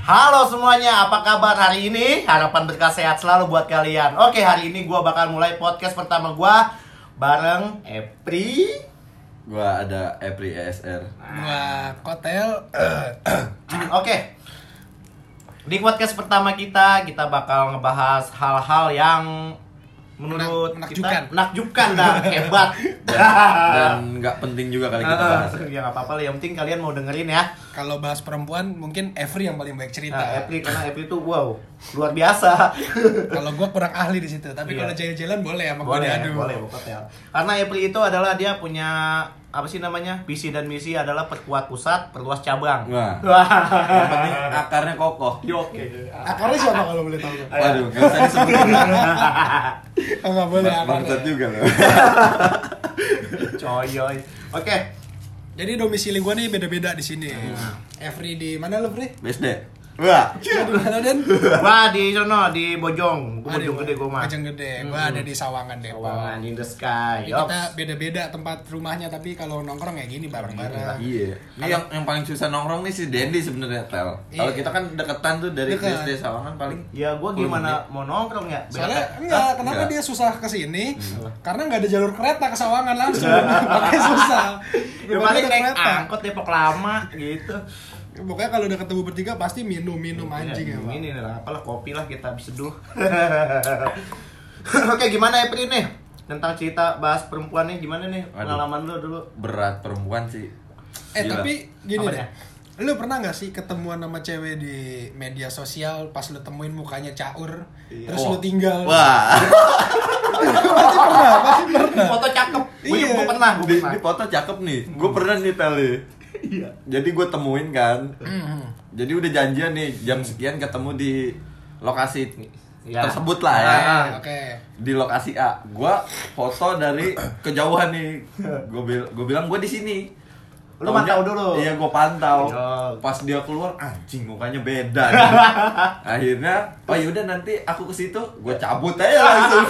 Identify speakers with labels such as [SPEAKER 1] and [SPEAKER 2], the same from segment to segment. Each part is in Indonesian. [SPEAKER 1] Halo semuanya, apa kabar hari ini? Harapan berkah sehat selalu buat kalian. Oke, hari ini gua bakal mulai podcast pertama gua bareng Epri.
[SPEAKER 2] Gua ada Epri ESR.
[SPEAKER 3] Gua kotel
[SPEAKER 1] Hmm, Oke. Di podcast pertama kita, kita bakal ngebahas hal-hal yang menurut
[SPEAKER 3] Menak- menakjubkan.
[SPEAKER 1] kita menakjubkan dan hebat. Ah.
[SPEAKER 2] Dan nggak penting juga kali kita bahas.
[SPEAKER 1] ya nggak apa-apa lah, yang penting kalian mau dengerin ya.
[SPEAKER 3] kalau bahas perempuan mungkin Every yang paling baik cerita.
[SPEAKER 1] Nah, Epri karena Epri tuh wow, luar biasa.
[SPEAKER 3] Kalau gua kurang ahli di situ, tapi
[SPEAKER 1] Iya.
[SPEAKER 3] kalau jalan-jalan boleh sama gua
[SPEAKER 1] boleh ya?
[SPEAKER 3] diadu.
[SPEAKER 1] boleh Bu Kotel. karena April itu adalah dia punya apa sih namanya visi dan misi adalah perkuat pusat perluas cabang
[SPEAKER 2] Wah.
[SPEAKER 1] Wah.
[SPEAKER 2] Yang penting akarnya kokoh.
[SPEAKER 1] Ah. Yo, oke
[SPEAKER 3] Akarnya siapa kalau boleh tahu?
[SPEAKER 2] Waduh, nggak usah disebutin.
[SPEAKER 3] Enggak boleh akarnya.
[SPEAKER 2] Bangsat juga loh.
[SPEAKER 1] coyoy oke
[SPEAKER 3] Jadi domisili gua nih beda-beda di sini.
[SPEAKER 1] Ah.
[SPEAKER 3] Every di mana lu, Bre?
[SPEAKER 2] BSD. Wah.
[SPEAKER 3] Di mana Den?
[SPEAKER 1] gua di sono di Bojong gua
[SPEAKER 3] Ah, di-
[SPEAKER 1] Bojong gede gua mah Hmm.
[SPEAKER 3] Bojong Gede. Gua ada di Sawangan Depok.
[SPEAKER 1] Sawangan in the sky
[SPEAKER 3] Jadi
[SPEAKER 1] Yo.
[SPEAKER 3] kita beda-beda tempat rumahnya tapi kalau nongkrong ya gini bareng-bareng.
[SPEAKER 2] Iya. Ini yang yang paling susah nongkrong nih si Dendi sebenarnya Tel. Kalau
[SPEAKER 3] Iya.
[SPEAKER 2] kita kan deketan tuh dari
[SPEAKER 3] Dekat.
[SPEAKER 2] BSD Sawangan paling
[SPEAKER 1] ya gua gimana mau nongkrong ya
[SPEAKER 3] Soalnya
[SPEAKER 1] Berat.
[SPEAKER 3] enggak,
[SPEAKER 2] Hah?
[SPEAKER 3] kenapa
[SPEAKER 2] Enggak.
[SPEAKER 3] dia susah ke sini? Karena enggak ada jalur kereta ke Sawangan langsung. Makanya susah.
[SPEAKER 1] ya
[SPEAKER 3] Daripada
[SPEAKER 1] paling
[SPEAKER 3] ke
[SPEAKER 1] naik angkot Depok lama gitu
[SPEAKER 3] Pokoknya kalau udah ketemu bertiga pasti minum-minum anjing ya, Pak.
[SPEAKER 1] Iya, ini lah apalah kopi lah kita habis seduh oke gimana Epri nih tentang cerita bahas perempuan nih gimana nih
[SPEAKER 2] Aduh.
[SPEAKER 1] pengalaman lu dulu
[SPEAKER 2] berat perempuan sih.
[SPEAKER 3] Eh
[SPEAKER 2] Gila.
[SPEAKER 3] tapi gini
[SPEAKER 1] Apa
[SPEAKER 3] deh.
[SPEAKER 1] ya?
[SPEAKER 3] Lu pernah gak sih ketemuan sama cewek di media sosial pas lu temuin mukanya caur
[SPEAKER 1] Iya.
[SPEAKER 3] terus
[SPEAKER 2] Oh.
[SPEAKER 3] lu tinggal?
[SPEAKER 2] Wah,
[SPEAKER 3] Pasti pernah, pasti pernah.
[SPEAKER 1] foto cakep gue
[SPEAKER 3] Iya.
[SPEAKER 1] juga pernah gue
[SPEAKER 2] di,
[SPEAKER 1] pernah
[SPEAKER 2] di foto cakep nih. Gue pernah nih Tel nih.
[SPEAKER 1] iya
[SPEAKER 2] Jadi gue temuin kan.
[SPEAKER 3] Hmm.
[SPEAKER 2] Jadi udah janjian nih jam sekian ketemu di lokasi
[SPEAKER 1] Ya.
[SPEAKER 2] tersebut lah ya.
[SPEAKER 3] Oke,
[SPEAKER 1] Ah.
[SPEAKER 3] Eh, Oke.
[SPEAKER 2] di lokasi A. Gua foto dari kejauhan nih. Gua, bil- gua bilang gua di sini.
[SPEAKER 1] Lu
[SPEAKER 2] Taunya-
[SPEAKER 1] pantau dulu.
[SPEAKER 2] Iya, gua pantau.
[SPEAKER 1] Iya.
[SPEAKER 2] Pas dia keluar, anjing mukanya beda. nih. Akhirnya, oh yaudah nanti aku ke situ, gua cabut aja langsung.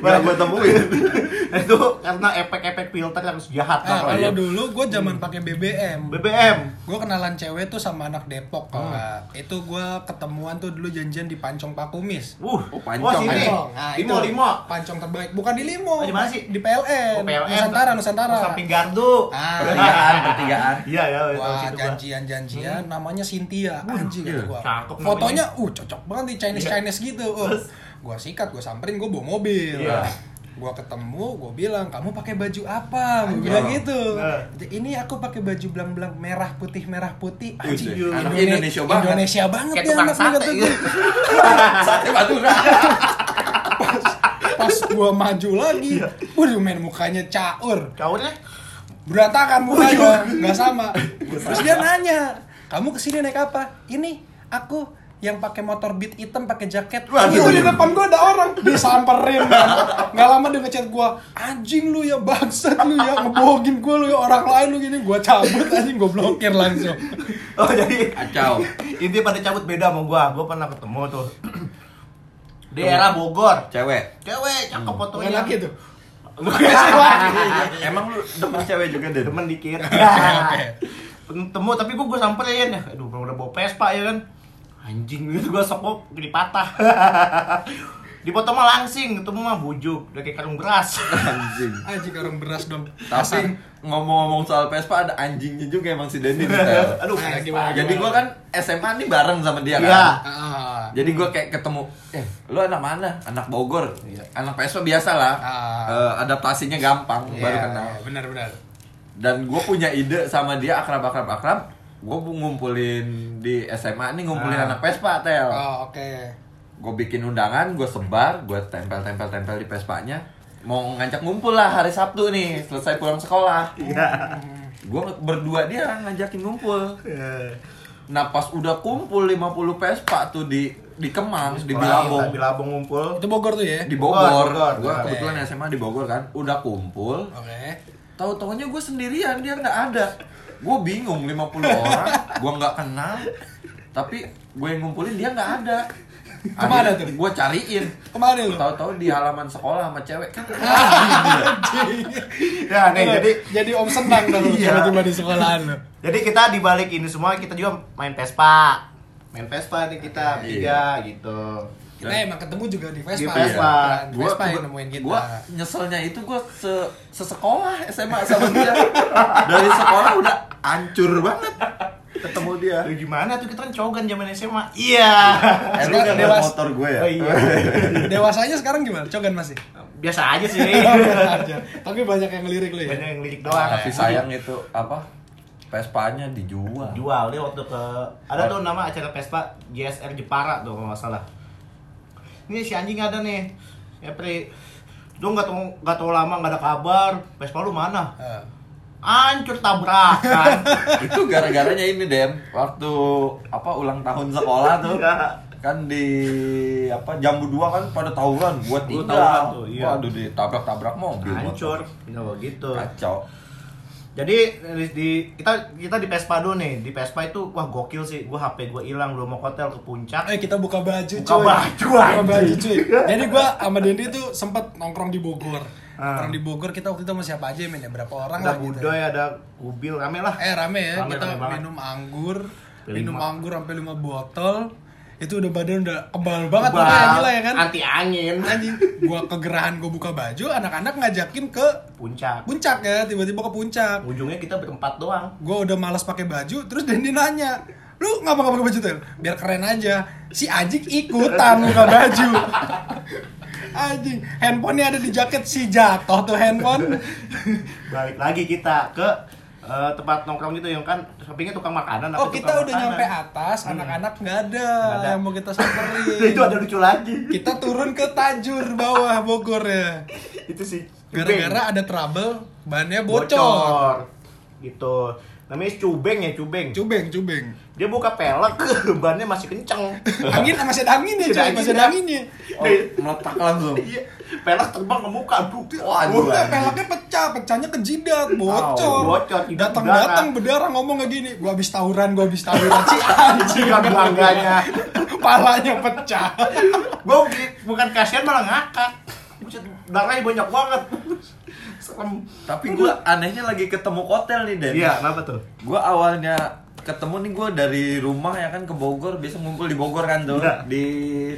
[SPEAKER 2] Gak gua temuin.
[SPEAKER 1] itu karena efek-efek filter yang jahat
[SPEAKER 3] Nah,
[SPEAKER 1] Bang.
[SPEAKER 3] kalau dulu
[SPEAKER 1] Hmm.
[SPEAKER 3] gue zaman pakai BBM.
[SPEAKER 1] BBM
[SPEAKER 3] Gue kenalan cewek tuh sama anak Depok
[SPEAKER 1] Hmm.
[SPEAKER 3] kalau nggak. Itu gue ketemuan tuh dulu janjian di Pancong Pakumis. Nah,
[SPEAKER 1] uh
[SPEAKER 2] Oh, pancong,
[SPEAKER 1] oh sini
[SPEAKER 2] pancong.
[SPEAKER 1] limo
[SPEAKER 3] itu.
[SPEAKER 1] limo
[SPEAKER 3] Pancong terbaik. Bukan di Limo.
[SPEAKER 1] Oh, di mana sih?
[SPEAKER 3] Di
[SPEAKER 1] Oh,
[SPEAKER 3] PLN.
[SPEAKER 1] PLN.
[SPEAKER 3] Nusantara, Nusantara.
[SPEAKER 1] Oh, samping gardu
[SPEAKER 3] Ah,
[SPEAKER 2] Pertigaan, pertigaan.
[SPEAKER 1] iya ya
[SPEAKER 3] Wah,
[SPEAKER 2] gitu,
[SPEAKER 3] janjian-janjian namanya Cynthia. Anjing
[SPEAKER 2] Hmm. iya.
[SPEAKER 3] kata gua.
[SPEAKER 1] Cakep
[SPEAKER 3] Fotonya uh cocok banget nih Chinese
[SPEAKER 1] Iya.
[SPEAKER 3] Chinese gitu. Uh, gua sikat, gua samperin, gua bawa mobil.
[SPEAKER 1] Iya.
[SPEAKER 3] Gua ketemu, gua bilang, "Kamu pakai baju apa?" Gua bilang gitu.
[SPEAKER 1] Nah.
[SPEAKER 3] Ini aku pakai baju belang-belang merah putih merah putih. Anjing.
[SPEAKER 2] Wih, anak
[SPEAKER 3] Indone-
[SPEAKER 2] Iya, Indonesia banget.
[SPEAKER 3] Indonesia banget
[SPEAKER 1] Kayak
[SPEAKER 3] ya
[SPEAKER 1] tukang
[SPEAKER 3] anak nih,
[SPEAKER 1] sate
[SPEAKER 3] kata
[SPEAKER 1] gitu.
[SPEAKER 3] gua.
[SPEAKER 2] Sate Madura.
[SPEAKER 3] Pas gua maju lagi,
[SPEAKER 2] Iya.
[SPEAKER 3] waduh main mukanya caur.
[SPEAKER 1] kaurnya
[SPEAKER 3] berantakan mukanya nggak sama terus dia nanya kamu kesini naik apa ini aku yang pakai motor beat hitam pakai jaket
[SPEAKER 2] Waduh.
[SPEAKER 3] itu di depan gua ada orang disamperin kan. nggak lama dia ngechat gua anjing lu ya bangsat lu ya ngebohongin gua lu ya orang lain lu gini gua cabut anjing gua blokir langsung
[SPEAKER 1] oh jadi
[SPEAKER 2] Kacau.
[SPEAKER 1] Inti pada cabut beda sama gua. Gua pernah ketemu tuh. Di era Bogor.
[SPEAKER 2] Cewek.
[SPEAKER 1] Cewek cakep fotonya. kan
[SPEAKER 3] Bukan lagi tuh
[SPEAKER 2] Emang lu demen cewek juga, Den?
[SPEAKER 1] Demen dikit.
[SPEAKER 3] Oke.
[SPEAKER 1] Ketemu tapi gua gua samperin ya. Aduh, udah udah bawa Vespa ya kan. Anjing itu gua sekop jadi patah. Dipoto mah langsing, ketemu mah bujuk, udah kayak karung beras.
[SPEAKER 2] Anjing.
[SPEAKER 3] anjing orang beras dong
[SPEAKER 2] Tapi ngomong-ngomong soal Vespa ada anjingnya juga emang si Dendi nih, Tel.
[SPEAKER 1] Aduh,
[SPEAKER 3] Nah,
[SPEAKER 1] Vespa.
[SPEAKER 3] gimana?
[SPEAKER 2] Jadi gua kan SMA nih bareng sama dia kan.
[SPEAKER 1] Iya.
[SPEAKER 3] ah,
[SPEAKER 2] Jadi gue kayak ketemu, eh lu anak mana? Anak Bogor.
[SPEAKER 1] Iya.
[SPEAKER 2] Anak PSO biasa lah.
[SPEAKER 3] Ah. Iya.
[SPEAKER 2] Eh, adaptasinya gampang, baru kenal.
[SPEAKER 3] benar-benar
[SPEAKER 2] Dan gue punya ide sama dia akrab akrab akrab. Gue ngumpulin di SMA nih ngumpulin
[SPEAKER 1] Ah.
[SPEAKER 2] anak Vespa tel.
[SPEAKER 3] oh, oke
[SPEAKER 2] Gue bikin undangan, gue sebar, gue tempel tempel tempel di Vespanya. Mau ngajak ngumpul lah hari Sabtu nih, selesai pulang sekolah.
[SPEAKER 1] Iya.
[SPEAKER 2] Gue berdua dia ngajakin ngumpul.
[SPEAKER 1] Iya.
[SPEAKER 2] Nah pas udah kumpul 50 Vespa tuh di di Kemang, di Bilabong. Eh,
[SPEAKER 1] Di Bilabong ngumpul.
[SPEAKER 3] itu Bogor tuh ya
[SPEAKER 2] di
[SPEAKER 1] Bogor,
[SPEAKER 2] Bogor.
[SPEAKER 1] Bogor.
[SPEAKER 2] Gua
[SPEAKER 1] Oke.
[SPEAKER 2] kebetulan SMA di Bogor kan, udah kumpul.
[SPEAKER 3] oke
[SPEAKER 2] Tahu taunya gue sendirian, dia nggak ada. Gue bingung 50 orang, gue nggak kenal. Tapi gue yang ngumpulin dia nggak ada.
[SPEAKER 3] Kemana tuh?
[SPEAKER 2] Gue cariin.
[SPEAKER 3] kemarin lu
[SPEAKER 2] Tahu-tahu di halaman sekolah sama cewek kan.
[SPEAKER 3] Ah,
[SPEAKER 1] Ya, nih jadi
[SPEAKER 3] Iya, jadi om senang dong
[SPEAKER 1] Iya.
[SPEAKER 3] tiba-tiba di sekolahan lo.
[SPEAKER 1] Jadi kita di balik ini semua kita juga main Vespa. main Vespa nih kita
[SPEAKER 2] Iya.
[SPEAKER 1] tiga gitu
[SPEAKER 3] Kita Nah, emang ketemu juga di Vespa.
[SPEAKER 1] Di Vespa.
[SPEAKER 3] Bukan Kan Vespa yang nemuin kita.
[SPEAKER 2] gua nyeselnya itu gua se sesekolah SMA sama dia dari sekolah udah hancur banget ketemu dia
[SPEAKER 1] Aduh, gimana tuh kita kan cogan zaman SMA iya
[SPEAKER 2] eh lu udah
[SPEAKER 3] Dewas.
[SPEAKER 2] ngeliat motor gue ya
[SPEAKER 1] Oh, iya.
[SPEAKER 3] Dewasanya sekarang gimana? Cogan masih? Oh, iya,
[SPEAKER 1] biasa aja sih
[SPEAKER 3] Aja. Tapi banyak yang ngelirik lu ya.
[SPEAKER 1] banyak yang lirik doang
[SPEAKER 2] tapi sayang itu apa Vespanya dijual
[SPEAKER 1] jual dia waktu ke ada tuh nama acara Vespa GSR Jepara tuh kalau nggak salah ini si anjing ada nih ya pri lu nggak tau nggak tau lama nggak ada kabar Vespa lu mana
[SPEAKER 3] Eh,
[SPEAKER 1] hancur tabrakan
[SPEAKER 2] itu gara-garanya ini dem waktu apa ulang tahun sekolah tuh
[SPEAKER 1] Iya.
[SPEAKER 2] kan di apa jambu dua kan pada tawuran buat
[SPEAKER 1] Gua
[SPEAKER 2] tiga
[SPEAKER 1] tawuran tuh, iya.
[SPEAKER 2] waduh ditabrak-tabrak mobil
[SPEAKER 1] hancur
[SPEAKER 2] motor. Kan.
[SPEAKER 1] ya gitu
[SPEAKER 2] kacau
[SPEAKER 1] jadi di, di- kita kita di Vespa dulu nih di Vespa itu wah gokil sih gua HP gua hilang belum mau ke hotel ke puncak
[SPEAKER 3] Eh kita buka baju
[SPEAKER 1] Buka
[SPEAKER 3] cuy.
[SPEAKER 1] baju,
[SPEAKER 3] Buka
[SPEAKER 1] anjing.
[SPEAKER 3] baju, cuy. Jadi gua sama Dendi tuh sempet nongkrong di Bogor. Nongkrong di Bogor kita waktu itu sama siapa aja men ya? Berapa orang
[SPEAKER 1] Ah. ada
[SPEAKER 3] lah gitu.
[SPEAKER 1] budoy ada kubil rame lah
[SPEAKER 3] Eh rame ya,
[SPEAKER 1] Rame,
[SPEAKER 3] kita
[SPEAKER 1] rame banget.
[SPEAKER 3] minum anggur,
[SPEAKER 1] Lima.
[SPEAKER 3] minum anggur sampai 5 botol. Itu udah badan udah kebal
[SPEAKER 1] Wah,
[SPEAKER 3] banget tuh kayak gila ya kan.
[SPEAKER 1] anti angin
[SPEAKER 3] Anjing, gua kegerahan gua buka baju, anak-anak ngajakin ke
[SPEAKER 1] puncak
[SPEAKER 3] puncak ya, tiba-tiba ke puncak.
[SPEAKER 1] ujungnya kita berempat doang
[SPEAKER 3] Gua udah malas pakai baju, terus Dendi nanya, "Lu ngapa nggak pakai baju tuh? Biar keren aja." Si Ajik ikutan buka baju. Anjing, handphonenya ada di jaket si jatuh tuh handphone.
[SPEAKER 1] balik lagi kita ke eh, tempat nongkrong gitu yang kan sampingnya tukang makanan
[SPEAKER 3] Oh
[SPEAKER 1] tapi
[SPEAKER 3] kita
[SPEAKER 1] tukang
[SPEAKER 3] udah
[SPEAKER 1] makanan.
[SPEAKER 3] nyampe atas, anak-anak nggak ada,
[SPEAKER 1] Hmm. Nggak ada.
[SPEAKER 3] yang mau kita
[SPEAKER 1] itu
[SPEAKER 3] samperin.
[SPEAKER 1] ada lucu lagi
[SPEAKER 3] kita turun ke Tajur bawah Bogor ya.
[SPEAKER 1] itu sih
[SPEAKER 3] Gara-gara ada trouble, bannya
[SPEAKER 1] Cubeng.
[SPEAKER 3] bocor.
[SPEAKER 1] gitu namanya cubeng ya cubeng
[SPEAKER 3] Cubeng, cubeng.
[SPEAKER 1] dia buka pelek bannya masih kenceng
[SPEAKER 3] Angin masih ada anginnya,
[SPEAKER 1] Ada
[SPEAKER 3] cuy, masih ada anginnya.
[SPEAKER 2] oh, meletak langsung
[SPEAKER 1] iya pelek terbang ke muka aduh
[SPEAKER 2] Waduh.
[SPEAKER 3] Udah peleknya pecah, pecahnya ke jidat, bocor.
[SPEAKER 1] Au, bocor, jidat
[SPEAKER 3] Datang-datang berdarah ngomong kayak gini, gua habis tawuran, gua habis tawuran si anjing
[SPEAKER 1] Bukan belangganya.
[SPEAKER 3] Palanya pecah.
[SPEAKER 1] gue bukan kasihan malah ngakak Buset, darahnya banyak banget serem
[SPEAKER 2] tapi gue anehnya lagi ketemu hotel nih dem
[SPEAKER 1] iya kenapa tuh
[SPEAKER 2] gue awalnya ketemu nih gue dari rumah ya kan ke Bogor biasa ngumpul di Bogor kan tuh
[SPEAKER 1] Iya.
[SPEAKER 2] di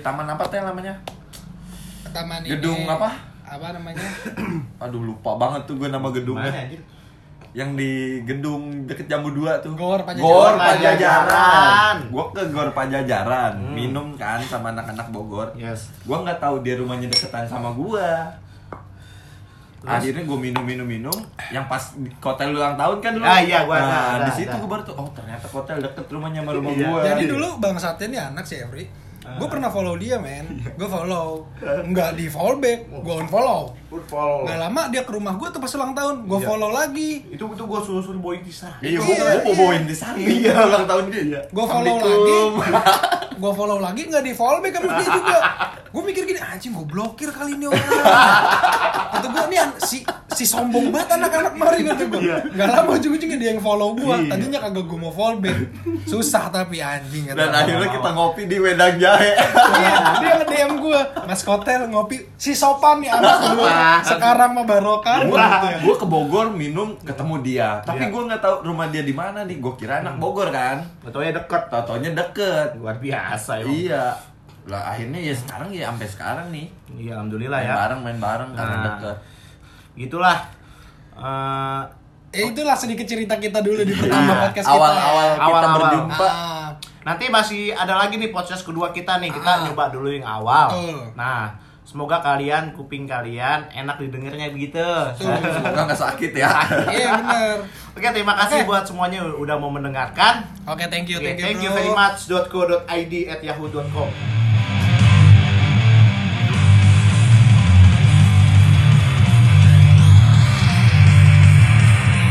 [SPEAKER 2] taman apa teh namanya
[SPEAKER 3] Taman ini.
[SPEAKER 2] Gedung apa?
[SPEAKER 3] eh, Apa namanya?
[SPEAKER 2] aduh lupa banget tuh gue nama gedungnya
[SPEAKER 1] Mana, anjir?
[SPEAKER 2] yang di gedung deket Jambu 2 tuh.
[SPEAKER 3] Gor Pajajaran.
[SPEAKER 2] Gor
[SPEAKER 1] Pajajaran.
[SPEAKER 2] Pajajaran. Gua ke Gor Pajajaran,
[SPEAKER 3] Hmm.
[SPEAKER 2] minum kan sama anak-anak Bogor.
[SPEAKER 1] yes
[SPEAKER 2] Gua nggak tahu dia rumahnya deketan sama gua. Akhirnya gua minum minum minum, yang pas di hotel ulang tahun kan lu.
[SPEAKER 1] Ah, iya, gua ada,
[SPEAKER 2] Nah,
[SPEAKER 1] ada,
[SPEAKER 2] di situ
[SPEAKER 1] ada.
[SPEAKER 2] gua baru tuh, oh ternyata hotel deket rumahnya sama rumah
[SPEAKER 1] Iya. Ah.
[SPEAKER 2] gua.
[SPEAKER 3] Jadi dulu Bang Satya nih anak si Every. Gue pernah follow dia men,
[SPEAKER 1] Iya.
[SPEAKER 3] gue follow Nggak di follow back, gue unfollow
[SPEAKER 1] football
[SPEAKER 3] Nggak lama dia ke rumah gue tuh pas ulang tahun, gue
[SPEAKER 1] Iya.
[SPEAKER 3] follow lagi
[SPEAKER 1] itu itu gue susul boy kisah
[SPEAKER 2] Iya, gua
[SPEAKER 3] Iya,
[SPEAKER 2] gua mau
[SPEAKER 3] iya.
[SPEAKER 2] bawain di sana.
[SPEAKER 1] Iya.
[SPEAKER 2] ulang tahun dia.
[SPEAKER 3] gue follow lagi
[SPEAKER 2] Assalamualaikum.
[SPEAKER 3] gue follow lagi nggak di follow back sama dia juga gue gitu. mikir gini anjing gue blokir kali ini orang atau gue nih an- si si sombong banget anak-anak mari kata gue nggak lama ujung-ujungnya dia yang follow gue tadinya kagak gue mau follow back susah tapi anjing kata
[SPEAKER 2] Dan
[SPEAKER 3] gua.
[SPEAKER 2] akhirnya kita ngopi di Wedang Jahe.
[SPEAKER 3] Iya, dia nge DM gue mas kotel ngopi si sopan nih anak gue sekarang mah barokan gitu ya.
[SPEAKER 2] gue ke Bogor minum ketemu dia tapi
[SPEAKER 1] Iya.
[SPEAKER 2] gue nggak tahu rumah dia di mana nih gue kira anak Bogor kan
[SPEAKER 1] atau ya dekat
[SPEAKER 2] tatonya deket
[SPEAKER 1] luar biasa ya
[SPEAKER 2] iya lah akhirnya ya sekarang ya sampai sekarang nih
[SPEAKER 1] iya alhamdulillah
[SPEAKER 2] main
[SPEAKER 1] ya
[SPEAKER 2] bareng main bareng karena
[SPEAKER 1] Nah.
[SPEAKER 2] deket
[SPEAKER 1] gitulah Eh,
[SPEAKER 3] Eh, itulah sedikit cerita kita dulu di
[SPEAKER 2] Iya,
[SPEAKER 3] pertama podcast kita ya.
[SPEAKER 2] awal awal kita
[SPEAKER 1] Awal-awal.
[SPEAKER 2] berjumpa
[SPEAKER 3] Ah.
[SPEAKER 1] nanti masih ada lagi nih podcast kedua kita nih kita
[SPEAKER 3] Ah.
[SPEAKER 1] nyoba dulu yang awal
[SPEAKER 3] Betul.
[SPEAKER 1] nah semoga kalian kuping kalian enak didengarnya gitu. begitu
[SPEAKER 2] semoga nggak sakit ya
[SPEAKER 3] iya benar
[SPEAKER 1] oke terima kasih
[SPEAKER 3] Oke.
[SPEAKER 1] buat semuanya udah mau mendengarkan
[SPEAKER 3] Oke, thank you,
[SPEAKER 1] Oke,
[SPEAKER 3] thank you,
[SPEAKER 1] thank you
[SPEAKER 3] bro.
[SPEAKER 1] very much.co.id at yahoo.com